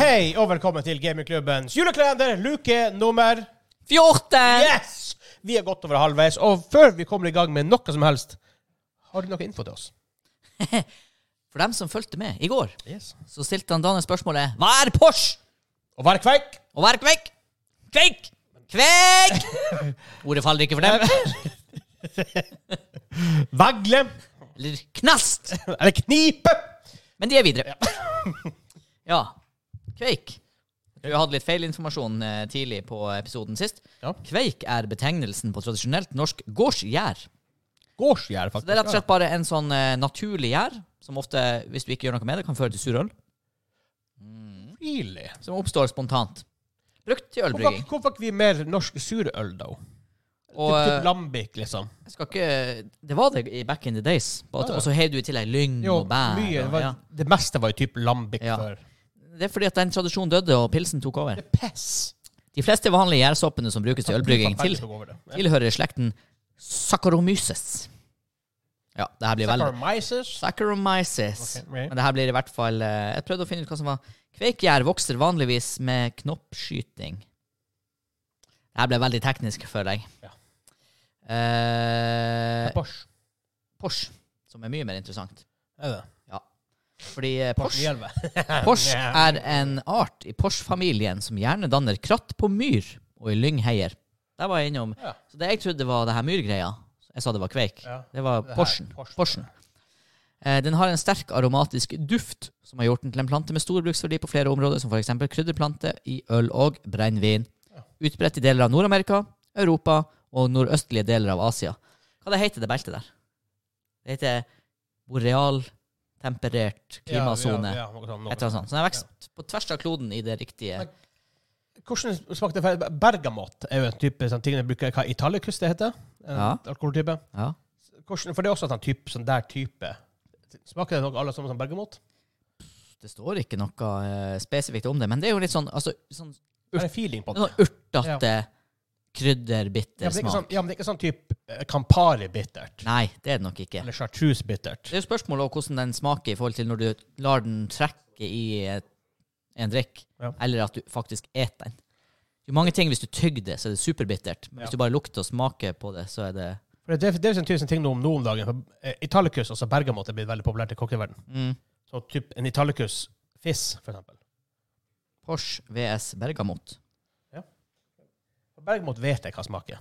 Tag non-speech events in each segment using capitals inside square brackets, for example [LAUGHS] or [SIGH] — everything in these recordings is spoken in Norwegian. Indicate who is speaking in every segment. Speaker 1: Hei og velkommen til gamingklubbens julekalender, luke nummer
Speaker 2: 14!
Speaker 1: Yes! Vi er godt over halvveis, og før vi kommer i gang med noe som helst, har du noe info til oss?
Speaker 2: For dem som fulgte med i går,
Speaker 1: Yes.
Speaker 2: så stilte han Daniel spørsmålet Hva er Porsche?
Speaker 1: Og vær kveik!
Speaker 2: Og hva er kveik? Kveik! Kveik! [LAUGHS] Ordet faller ikke for dem.
Speaker 1: Vagle!
Speaker 2: [LAUGHS] Eller knast.
Speaker 1: Eller knipe!
Speaker 2: Men de er videre. [LAUGHS] Ja. Kveik. Du hadde litt feil informasjon eh, tidlig på episoden sist.
Speaker 1: Ja.
Speaker 2: Kveik er betegnelsen på tradisjonelt norsk gårdsgjær.
Speaker 1: Gårdsgjær,
Speaker 2: Så
Speaker 1: faktisk.
Speaker 2: Det er rett og slett bare en sånn eh, naturlig gjær, som ofte, hvis du ikke gjør noe med det, kan føre til surøl.
Speaker 1: Ja. Really?
Speaker 2: Som oppstår spontant. Brukt til
Speaker 1: Hvorfor
Speaker 2: ølbrygging.
Speaker 1: hvorfor ikke vi mer norsk surøl, da?
Speaker 2: Og,
Speaker 1: typ,
Speaker 2: eh,
Speaker 1: typ Lambik, liksom.
Speaker 2: Jeg skal ikke Det var det i back in the days. På at-
Speaker 1: Ja, ja.
Speaker 2: Og så har du i tillegg lyng
Speaker 1: Jo,
Speaker 2: og bær.
Speaker 1: mye. Det,
Speaker 2: og,
Speaker 1: var,
Speaker 2: ja.
Speaker 1: det meste var jo typ Lambik
Speaker 2: Ja.
Speaker 1: før.
Speaker 2: Det er fordi at den tradisjonen døde, og pilsen tok over.
Speaker 1: Det er pess.
Speaker 2: De fleste vanlige gjærsoppene som brukes til ølbrygging,
Speaker 1: Fy faen,
Speaker 2: til,
Speaker 1: jeg tok over det. Ja.
Speaker 2: tilhører slekten Saccharomyces. Ja, det her blir veldig
Speaker 1: Saccharomyces.
Speaker 2: Saccharomyces.
Speaker 1: Ok, right.
Speaker 2: Men det her blir i hvert fall eh, Jeg prøvde å finne ut hva som var Kveikgjær vokser vanligvis med knoppskyting. Det her ble veldig teknisk, føler jeg.
Speaker 1: Ja.
Speaker 2: Eh,
Speaker 1: Porsche.
Speaker 2: Porsche, som er mye mer interessant.
Speaker 1: Er det?
Speaker 2: Fordi eh, Porsche
Speaker 1: Porsche.
Speaker 2: Porsche er en art i Porsche-familien som gjerne danner kratt på myr og i lyngheier. Der var jeg innom.
Speaker 1: Ja.
Speaker 2: Så det jeg trodde var det her myrgreia, jeg sa det var kveik,
Speaker 1: Ja.
Speaker 2: det var
Speaker 1: her,
Speaker 2: Porschen.
Speaker 1: Porschen.
Speaker 2: Porschen. Eh, Den har en sterk aromatisk duft som har gjort den til en plante med stor bruksverdi på flere områder, som f.eks. krydderplante i øl og brennevin. Utbredt i deler av Nord-Amerika, Europa og nordøstlige deler av Asia. Hva det heter det beltet der? Det heter borealtemperert klimasone.
Speaker 1: Ja, ja, ja, noe sånt, noe
Speaker 2: Et eller annet sånt. Så den har vokst på tvers av kloden i det riktige
Speaker 1: Men- Hvordan smakte det? feil? Bergamot er jo en type sånn ting de bruker Hva italicus det heter? En
Speaker 2: Ja.
Speaker 1: alkoholtype.
Speaker 2: ja.
Speaker 1: Hvordan, for det er også en sånn, type, sånn der type. Smaker det noe alle sammen som bergamot?
Speaker 2: Det står ikke noe eh, spesifikt om det, men det er jo litt sånn, altså, sånn,
Speaker 1: Er det feeling på det?
Speaker 2: sånn urtete,
Speaker 1: Ja, men
Speaker 2: krydderbitter
Speaker 1: det er ikke
Speaker 2: smak.
Speaker 1: sånn, ja, men det er ikke sånn type eh, Campari-bittert.
Speaker 2: Nei, det er det nok ikke.
Speaker 1: Eller chartreuse-bittert.
Speaker 2: Det er jo spørsmålet om hvordan den smaker i forhold til når du lar den trekke i et, en drikk,
Speaker 1: Ja.
Speaker 2: eller at du faktisk et den. Det er mange ting, Hvis du tygger det, så er det superbittert. Men
Speaker 1: Ja.
Speaker 2: hvis du bare lukter og smaker på det, så er det
Speaker 1: For det, det er jo en typisk sånn ting nå om noen dager. for, eh, Italicus, altså bergamot, er blitt veldig populært i kokkeverdenen.
Speaker 2: mm,
Speaker 1: Så typ en italicus-fiss, for eksempel.
Speaker 2: Porsche VS Bergamot.
Speaker 1: Bergamot vet jeg hva smaker.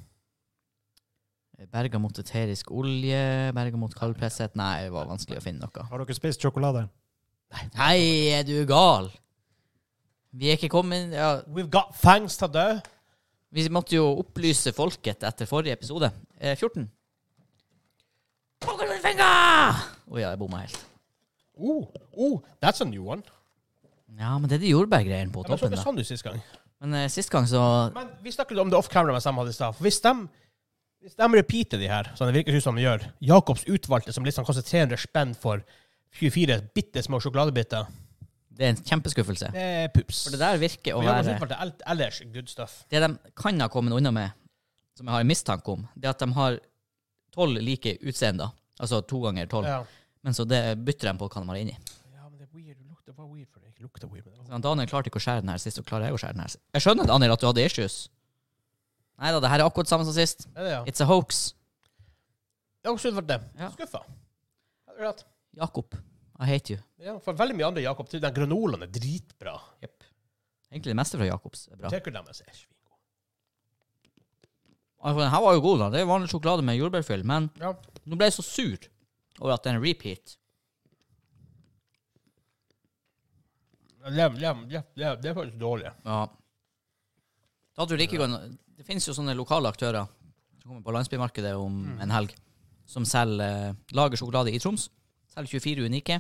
Speaker 2: Bergamot Eh, eterisk olje, bergamot kaldpresset Nei, det var vanskelig å finne noe.
Speaker 3: Har dere spist sjokolade?
Speaker 2: Nei, er du gal? Vi er ikke kommet ja,
Speaker 1: We've got thanks to dø.
Speaker 2: Vi måtte jo opplyse folket etter forrige episode. Eh, 14. Pokémon-finger! Å ja, jeg bomma helt.
Speaker 1: Oh, oh, that's a new one.
Speaker 2: Ja, men det er de jordbærgreiene på
Speaker 1: Det var så
Speaker 2: toppen,
Speaker 1: ikke
Speaker 2: da.
Speaker 1: sånn du sist gang.
Speaker 2: Men eh, sist gang så
Speaker 1: Men vi snakket litt om det off-camera mens de hadde i stad. For hvis de, hvis de repeater de her, som det virker som de gjør Jacobs utvalgte, som liksom koster 300 spenn for 24 bitte små sjokoladebiter,
Speaker 2: Det er en kjempeskuffelse.
Speaker 1: det er pups.
Speaker 2: For det der virker å
Speaker 1: Og Jacobs
Speaker 2: være
Speaker 1: utvalgte er alt ellers good stuff.
Speaker 2: Det de kan ha kommet unna med, som jeg har en mistanke om, det er at de har tolv like utseender. Altså to ganger tolv.
Speaker 1: Ja.
Speaker 2: Men så det bytter de på hva de har inni.
Speaker 1: ja, men det er weird. Det lukter- Det var weird for det. Ikke lukter weird, men det var-
Speaker 2: Så han Daniel klarte ikke å skjære den her sist, og klarer jeg å skjære den her sist. Jeg skjønner, Daniel, at du hadde issues. Nei da, det her er akkurat samme som sist.
Speaker 1: Er det, ja.
Speaker 2: It's a hoax.
Speaker 1: Jacobs utvalgte.
Speaker 2: Sånn. Ja.
Speaker 1: Skuffa. Ja, det er rett.
Speaker 2: Jakob, I hate you.
Speaker 1: Ja, for veldig mye andre Jacob, den granolaen er dritbra.
Speaker 2: Egentlig det meste fra Jakobs er bra.
Speaker 1: Tenker deres er svingod.
Speaker 2: Altså, den her var jo god, da. Det er vanlig sjokolade med jordbærfyll, men
Speaker 1: Ja.
Speaker 2: nå ble jeg så sur over at det er en repeat.
Speaker 1: Lem, lem, lem, lem. Det er faktisk dårlig.
Speaker 2: Ja. Da hadde du like godt Det finnes jo sånne lokale aktører som kommer på landsbymarkedet om en helg, som selger eh, lager sjokolade i Troms. Selger 24 unike.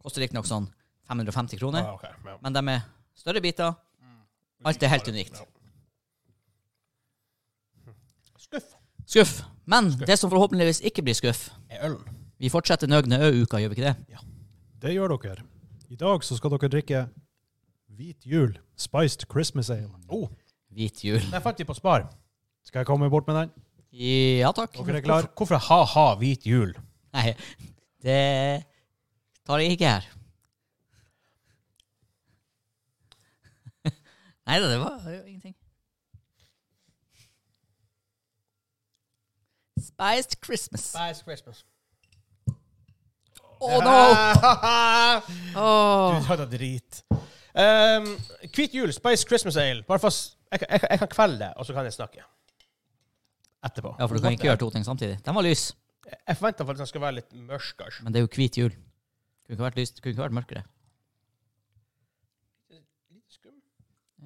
Speaker 2: Koster riktignok sånn 550 kroner.
Speaker 1: Ja, Ah, ok, ja.
Speaker 2: Men de er større biter. Alt er helt unikt.
Speaker 1: Skuff
Speaker 2: Skuff. Men det som forhåpentligvis ikke blir skuff
Speaker 1: er ølen.
Speaker 2: Vi fortsetter Nøgne Ø-uka, gjør vi ikke det?
Speaker 3: Det gjør dere. I dag så skal dere drikke Hvit jul Spiced Christmas Ale.
Speaker 1: Oh,
Speaker 2: Hvit jul.
Speaker 1: den fant vi på Spar.
Speaker 3: Skal jeg komme bort med den?
Speaker 2: Ja takk.
Speaker 3: Dere er klar?
Speaker 1: Hvorfor- Hvorfor ha-ha hvit jul?
Speaker 2: Nei, det tar jeg ikke her. [LAUGHS] Nei da, det var det var ingenting. Spiced Christmas.
Speaker 1: Spice Christmas.
Speaker 2: Oh no!
Speaker 1: [LAUGHS] Du
Speaker 2: Åh.
Speaker 1: tar da drit. Um, Hvit jul, Spice Christmas Ale. Bare for, s- jeg, kan- jeg, kan- jeg kan kvelde det, og så kan jeg snakke. Etterpå.
Speaker 2: Ja, for du kan ikke gjøre to ting samtidig. Den var lys,
Speaker 1: Jeg forventer faktisk at den skal være litt mørk. kanskje.
Speaker 2: men det er jo hvit jul. Kunne ikke vært lyst, kunne ikke vært mørkere.
Speaker 1: Litt skum.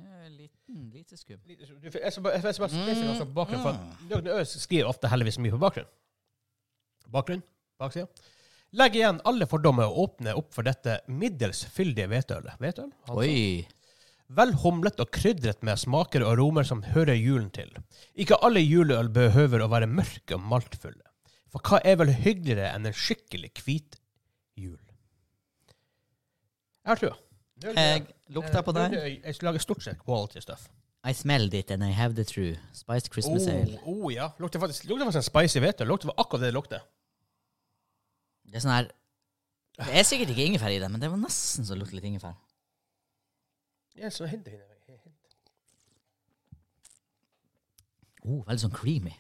Speaker 2: Eh, Liten, lite skum.
Speaker 1: Litt skum. Du, Jeg skal bare, jeg skal bare spise
Speaker 2: Mm,
Speaker 1: noe på bakgrunnen. For Jørgen Øe skriver ofte heldigvis mye på bakgrunnen. Bakgrunn, baksida. Legg igjen alle fordommer og åpne opp for dette middels fyldige hvetølet. Hvetøl? altså.
Speaker 2: Oi.
Speaker 1: Vel humlet og krydret med smaker og aromer som hører julen til. Ikke alle juleøl behøver å være mørke og maltfulle. For hva er vel hyggeligere enn en skikkelig hvit jul? Jeg har trua. Eh,
Speaker 2: Jeg lukter på den.
Speaker 1: Jeg, jeg lager stort sett quality stuff.
Speaker 2: I smelled it and I have the true. Spiced Christmas ale.
Speaker 1: oh, oh, ja. Lukter faktisk, lukter faktisk en spicy hvetøl. Lukter akkurat det det lukter.
Speaker 2: Det er sånn her Det er sikkert ikke ingefær i det, men det var nesten så det lukter litt ingefær.
Speaker 1: Ja, så hint, hint, hint.
Speaker 2: Oh, veldig sånn creamy.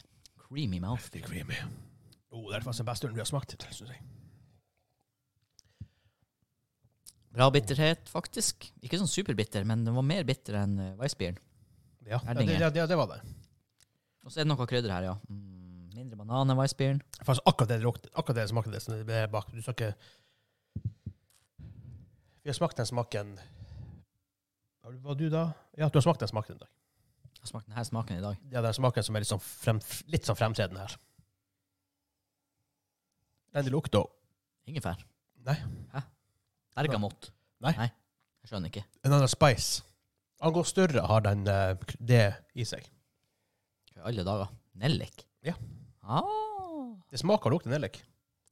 Speaker 2: Creamy mouth.
Speaker 1: Veldig creamy. Oh, det er faktisk den beste ølen vi har smakt. Synes jeg.
Speaker 2: Bra bitterhet, faktisk. Ikke sånn superbitter, men den var mer bitter enn uh, Weissbieren.
Speaker 1: Ja,
Speaker 2: Er
Speaker 1: ja,
Speaker 2: det
Speaker 1: det,
Speaker 2: ingen?
Speaker 1: ja, det, ja, det var det.
Speaker 2: Og så er det noe krydder her, ja. Mm, mindre banan enn Weissbieren.
Speaker 1: Faktisk akkurat det det lukter, akkurat det smakte det som det ble bak. Du skal ikke Vi har smakt den smaken Har du- Var du da? Ja, du har smakt den smaken i dag.
Speaker 2: Har smakt denne smaken i dag.
Speaker 1: Ja, den smaken som er litt sånn, frem, litt sånn fremtredende her. Den det lukter
Speaker 2: Ingefær.
Speaker 1: Nei.
Speaker 2: Hæ? Bergamott.
Speaker 1: Nei.
Speaker 2: Nei. Jeg skjønner ikke.
Speaker 1: En annen spice. Angård Større har den, eh, kr- det i seg.
Speaker 2: Hva i alle dager? Nellik?
Speaker 1: Ja.
Speaker 2: Ah.
Speaker 1: Det smaker og lukter nellik.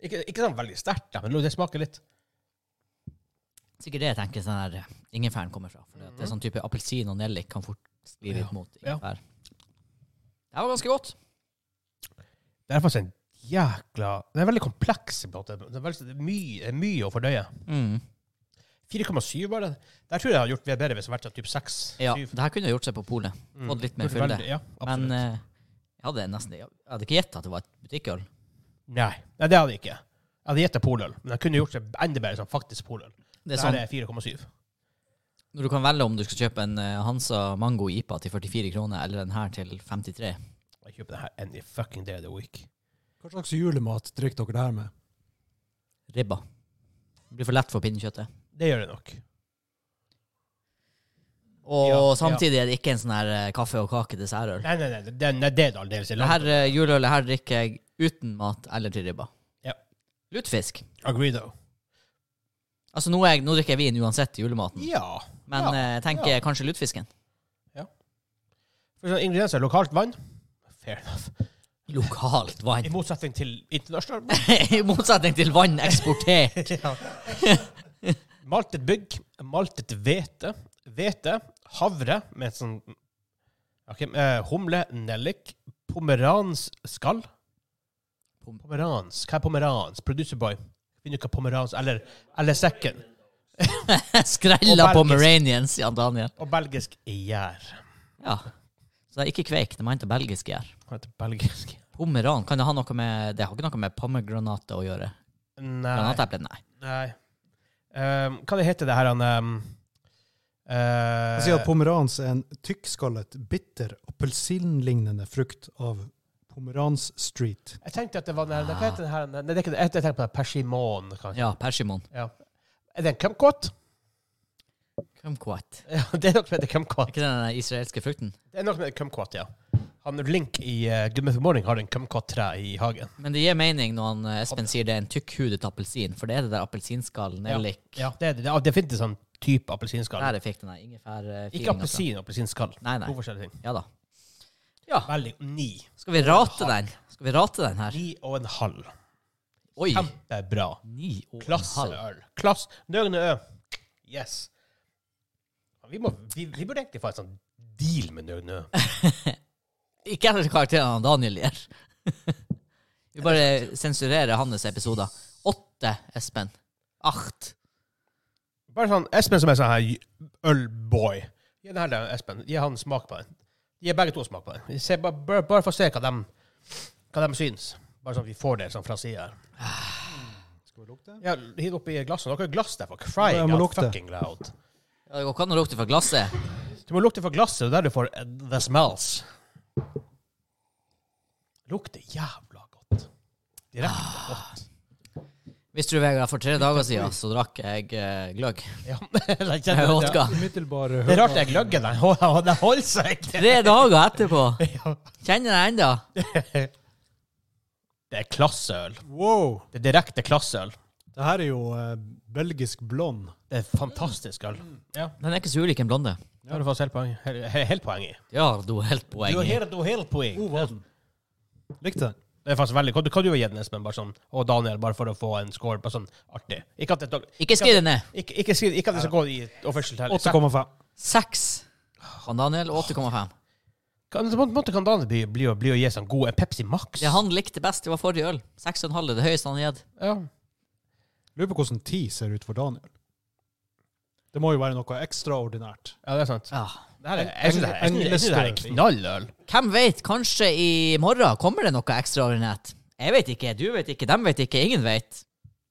Speaker 1: Ikke, ikke sånn veldig sterkt, da, men det smaker litt.
Speaker 2: Sikkert det jeg tenker sånn her eh, ingefæren kommer fra. For det- det er sånn type appelsin og nellik kan fort skli litt
Speaker 1: Ja.
Speaker 2: mot
Speaker 1: Ja.
Speaker 2: ingefær. Det her var ganske godt.
Speaker 1: Det er faktisk en jækla Den er veldig kompleks. på en måte. Det er, veldig, det er mye, det er mye å fordøye.
Speaker 2: Mm.
Speaker 1: 4,7 bare. Der tror jeg jeg hadde gjort det bedre hvis det hadde vært sånn typ 6.
Speaker 2: Ja,
Speaker 1: syv.
Speaker 2: det her kunne gjort seg på polet.
Speaker 1: Mm.
Speaker 2: fått litt mer
Speaker 1: Burde
Speaker 2: fylde.
Speaker 1: veldig- Ja,
Speaker 2: Men
Speaker 1: absolutt.
Speaker 2: eh, jeg hadde nesten Jeg hadde ikke gjetta at det var et butikkøl.
Speaker 1: nei. nei, det hadde jeg ikke. Jeg hadde gjettet poløl, men jeg kunne gjort det enda bedre som faktisk poløl.
Speaker 2: Det
Speaker 1: Det
Speaker 2: er sånn,
Speaker 1: er 4,7.
Speaker 2: Når du kan velge om du skal kjøpe en eh, Hansa Mango IPA til 44 kroner, eller den her til 53
Speaker 1: Jeg kjøper det her any fucking day of the week.
Speaker 3: Hva slags julemat drikker dere det her med?
Speaker 2: Ribba. Det blir for lett for pinnekjøttet.
Speaker 1: Det gjør det nok.
Speaker 2: Og
Speaker 1: Ja,
Speaker 2: samtidig er det ikke en sånn her eh, kaffe og kake dessertøl.
Speaker 1: Nei, nei, nei. Det, nei, det er det aldeles
Speaker 2: Det her eh, juleølet her drikker jeg uten mat eller til ribba.
Speaker 1: Ja.
Speaker 2: Lutefisk.
Speaker 1: Agree, though.
Speaker 2: Altså nå, er jeg, nå drikker jeg vin uansett til julematen,
Speaker 1: Ja.
Speaker 2: men
Speaker 1: ja,
Speaker 2: eh, jeg tenker kanskje lutefisken.
Speaker 1: For sånn ingredienser lokalt vann. Fair enough.
Speaker 2: Lokalt
Speaker 1: I
Speaker 2: vann.
Speaker 1: motsetning til internasjonal [LAUGHS]
Speaker 2: [LAUGHS] I motsetning til vann eksportert. [LAUGHS]
Speaker 1: Maltet bygg, maltet hvete, hvete, havre med et sånn Ok, eh, humle, nellik, pomerans skall
Speaker 2: Pom-
Speaker 1: Pomerans, hva er pomerans? Producer boy. Finner du ikke pomerans Eller, eller sekken.
Speaker 2: Skrella
Speaker 1: Og belgisk.
Speaker 2: pomeranians, Jan Daniel.
Speaker 1: Og belgisk gjær.
Speaker 2: Ja. Så det er ikke kveik, det må hente belgisk gjær.
Speaker 1: Hva heter belgisk?
Speaker 2: Pomeran, kan det ha noe med Det har ikke noe med pomegranate å gjøre.
Speaker 1: Nei.
Speaker 2: Granateple, nei.
Speaker 1: Nei. Um, hva det heter det her, han eh, um, eh,
Speaker 3: Jeg sier at pomerans er en tykkskallet, bitter, appelsinlignende frukt av pomerans street.
Speaker 1: Jeg tenkte at det var den her, hva heter den her? Nei, det er ikke det. Jeg tenkte på den persimon, kanskje.
Speaker 2: Ja, persimon.
Speaker 1: Ja. Er det en kumquat? [LAUGHS]
Speaker 2: Kumquat.
Speaker 1: Ja, det er nok som heter kumquat.
Speaker 2: Er ikke det den israelske frukten?
Speaker 1: Det er noe med kumquat, ja. Han Link i uh, Good Myth Morning har en kumquat-tre i hagen.
Speaker 2: Men det gir mening når han, eh, Espen sier det er en tykkhudet appelsin, for det er det der appelsinskallen, nellik
Speaker 1: Ja, det er det. Det er definitivt sånn type appelsinskall.
Speaker 2: Der jeg fikk den der ingefærfeelinga
Speaker 1: Ikke appelsin og appelsinskall.
Speaker 2: eh, sånn. altså. Nei, nei.
Speaker 1: To forskjellige ting.
Speaker 2: Ja da. Ja.
Speaker 1: Veldig ni.
Speaker 2: Skal vi rate den? Skal vi rate den her?
Speaker 1: Ni og en halv.
Speaker 2: Oi!
Speaker 1: Kjempebra.
Speaker 2: Ni og en halv.
Speaker 1: Klasseøl. Klass. Nøgne Ø. Yes. Vi, må, vi, vi burde egentlig få en sånn deal med Nøgne Ø.
Speaker 2: Ikke etter karakterene Daniel
Speaker 1: [LAUGHS]
Speaker 2: gjør. Vi bare sensurerer hans episoder. Åtte, Espen. Acht.
Speaker 1: Bare sånn Espen som er sånn her ølboy. Gi den her til Espen. Gi han smak på den. Gi begge to smak på den. Vi ser, bare, bare, bare for å se hva de, hva de syns. Bare sånn at vi får det sånn fra sida.
Speaker 3: Skal vi lukte?
Speaker 1: Ja, hiv oppi glasset. Dere har glass der for crying
Speaker 3: Ja, jeg må
Speaker 1: out
Speaker 3: lukte.
Speaker 1: fucking loud.
Speaker 2: Ja, det går ikke an å lukte fra glasset.
Speaker 1: Du må lukte fra glasset, det er der du får eh, the smells. Lukter jævla godt. Direkte godt.
Speaker 2: Visste du, Vegard, for tre dager siden så drakk jeg eh,
Speaker 1: [LAUGHS]
Speaker 2: gløgg.
Speaker 1: Ja, jeg
Speaker 2: Eh,
Speaker 1: kjenner det.
Speaker 2: Vodka.
Speaker 3: Umiddelbar
Speaker 1: Det er rart jeg gløgger den. Den [LAUGHS] holder seg.
Speaker 2: Tre dager etterpå. Kjenner jeg ennå.
Speaker 1: Det er klasseøl.
Speaker 3: Wow!
Speaker 1: Det er direkte klasseøl.
Speaker 3: Det her er jo eh, belgisk blond.
Speaker 1: Det er fantastisk øl. Mm. Ja,
Speaker 2: Den er ikke så ulik en blonde.
Speaker 1: det har du fått helt poeng, helt, helt poeng i.
Speaker 2: Ja, du har helt poeng.
Speaker 1: Du har
Speaker 2: i.
Speaker 1: helt, du har helt poeng.
Speaker 3: God var den. Likte den.
Speaker 1: Det er faktisk veldig godt. Hva du har gitt den, Espen, bare sånn, og Daniel, bare for å få en score på sånn artig? Ikke at det,
Speaker 2: Ikke skriv det ned.
Speaker 1: ikke, ikke, si- ikke at det skal gå i official tell.
Speaker 3: 8,5.
Speaker 2: Seks. Han Daniel 8,5.
Speaker 1: Kan, på en måte kan Daniel bli, bli, å- bli å gi sånn god en Pepsi Max.
Speaker 2: Det han likte best, det var forrige øl. 6,5 er det høyeste han har gitt.
Speaker 1: Ja.
Speaker 3: Lurer på hvordan 10 ser ut for Daniel. Det må jo være noe ekstraordinært.
Speaker 1: ja, det er sant.
Speaker 2: Ja.
Speaker 1: Det her er, jeg synes det her- jeg synes- jeg synes det her er knalløl.
Speaker 2: Hvem vet, kanskje i morgen kommer det noe ekstraordinært. Jeg vet ikke, du vet ikke, dem vet ikke, ingen vet.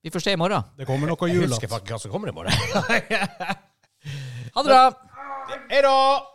Speaker 2: Vi får se i morgen.
Speaker 3: Det kommer noe altså.
Speaker 1: Jeg husker
Speaker 3: julete.
Speaker 1: faktisk hva som kommer i morgen.
Speaker 2: Ha det bra!
Speaker 1: Hei da!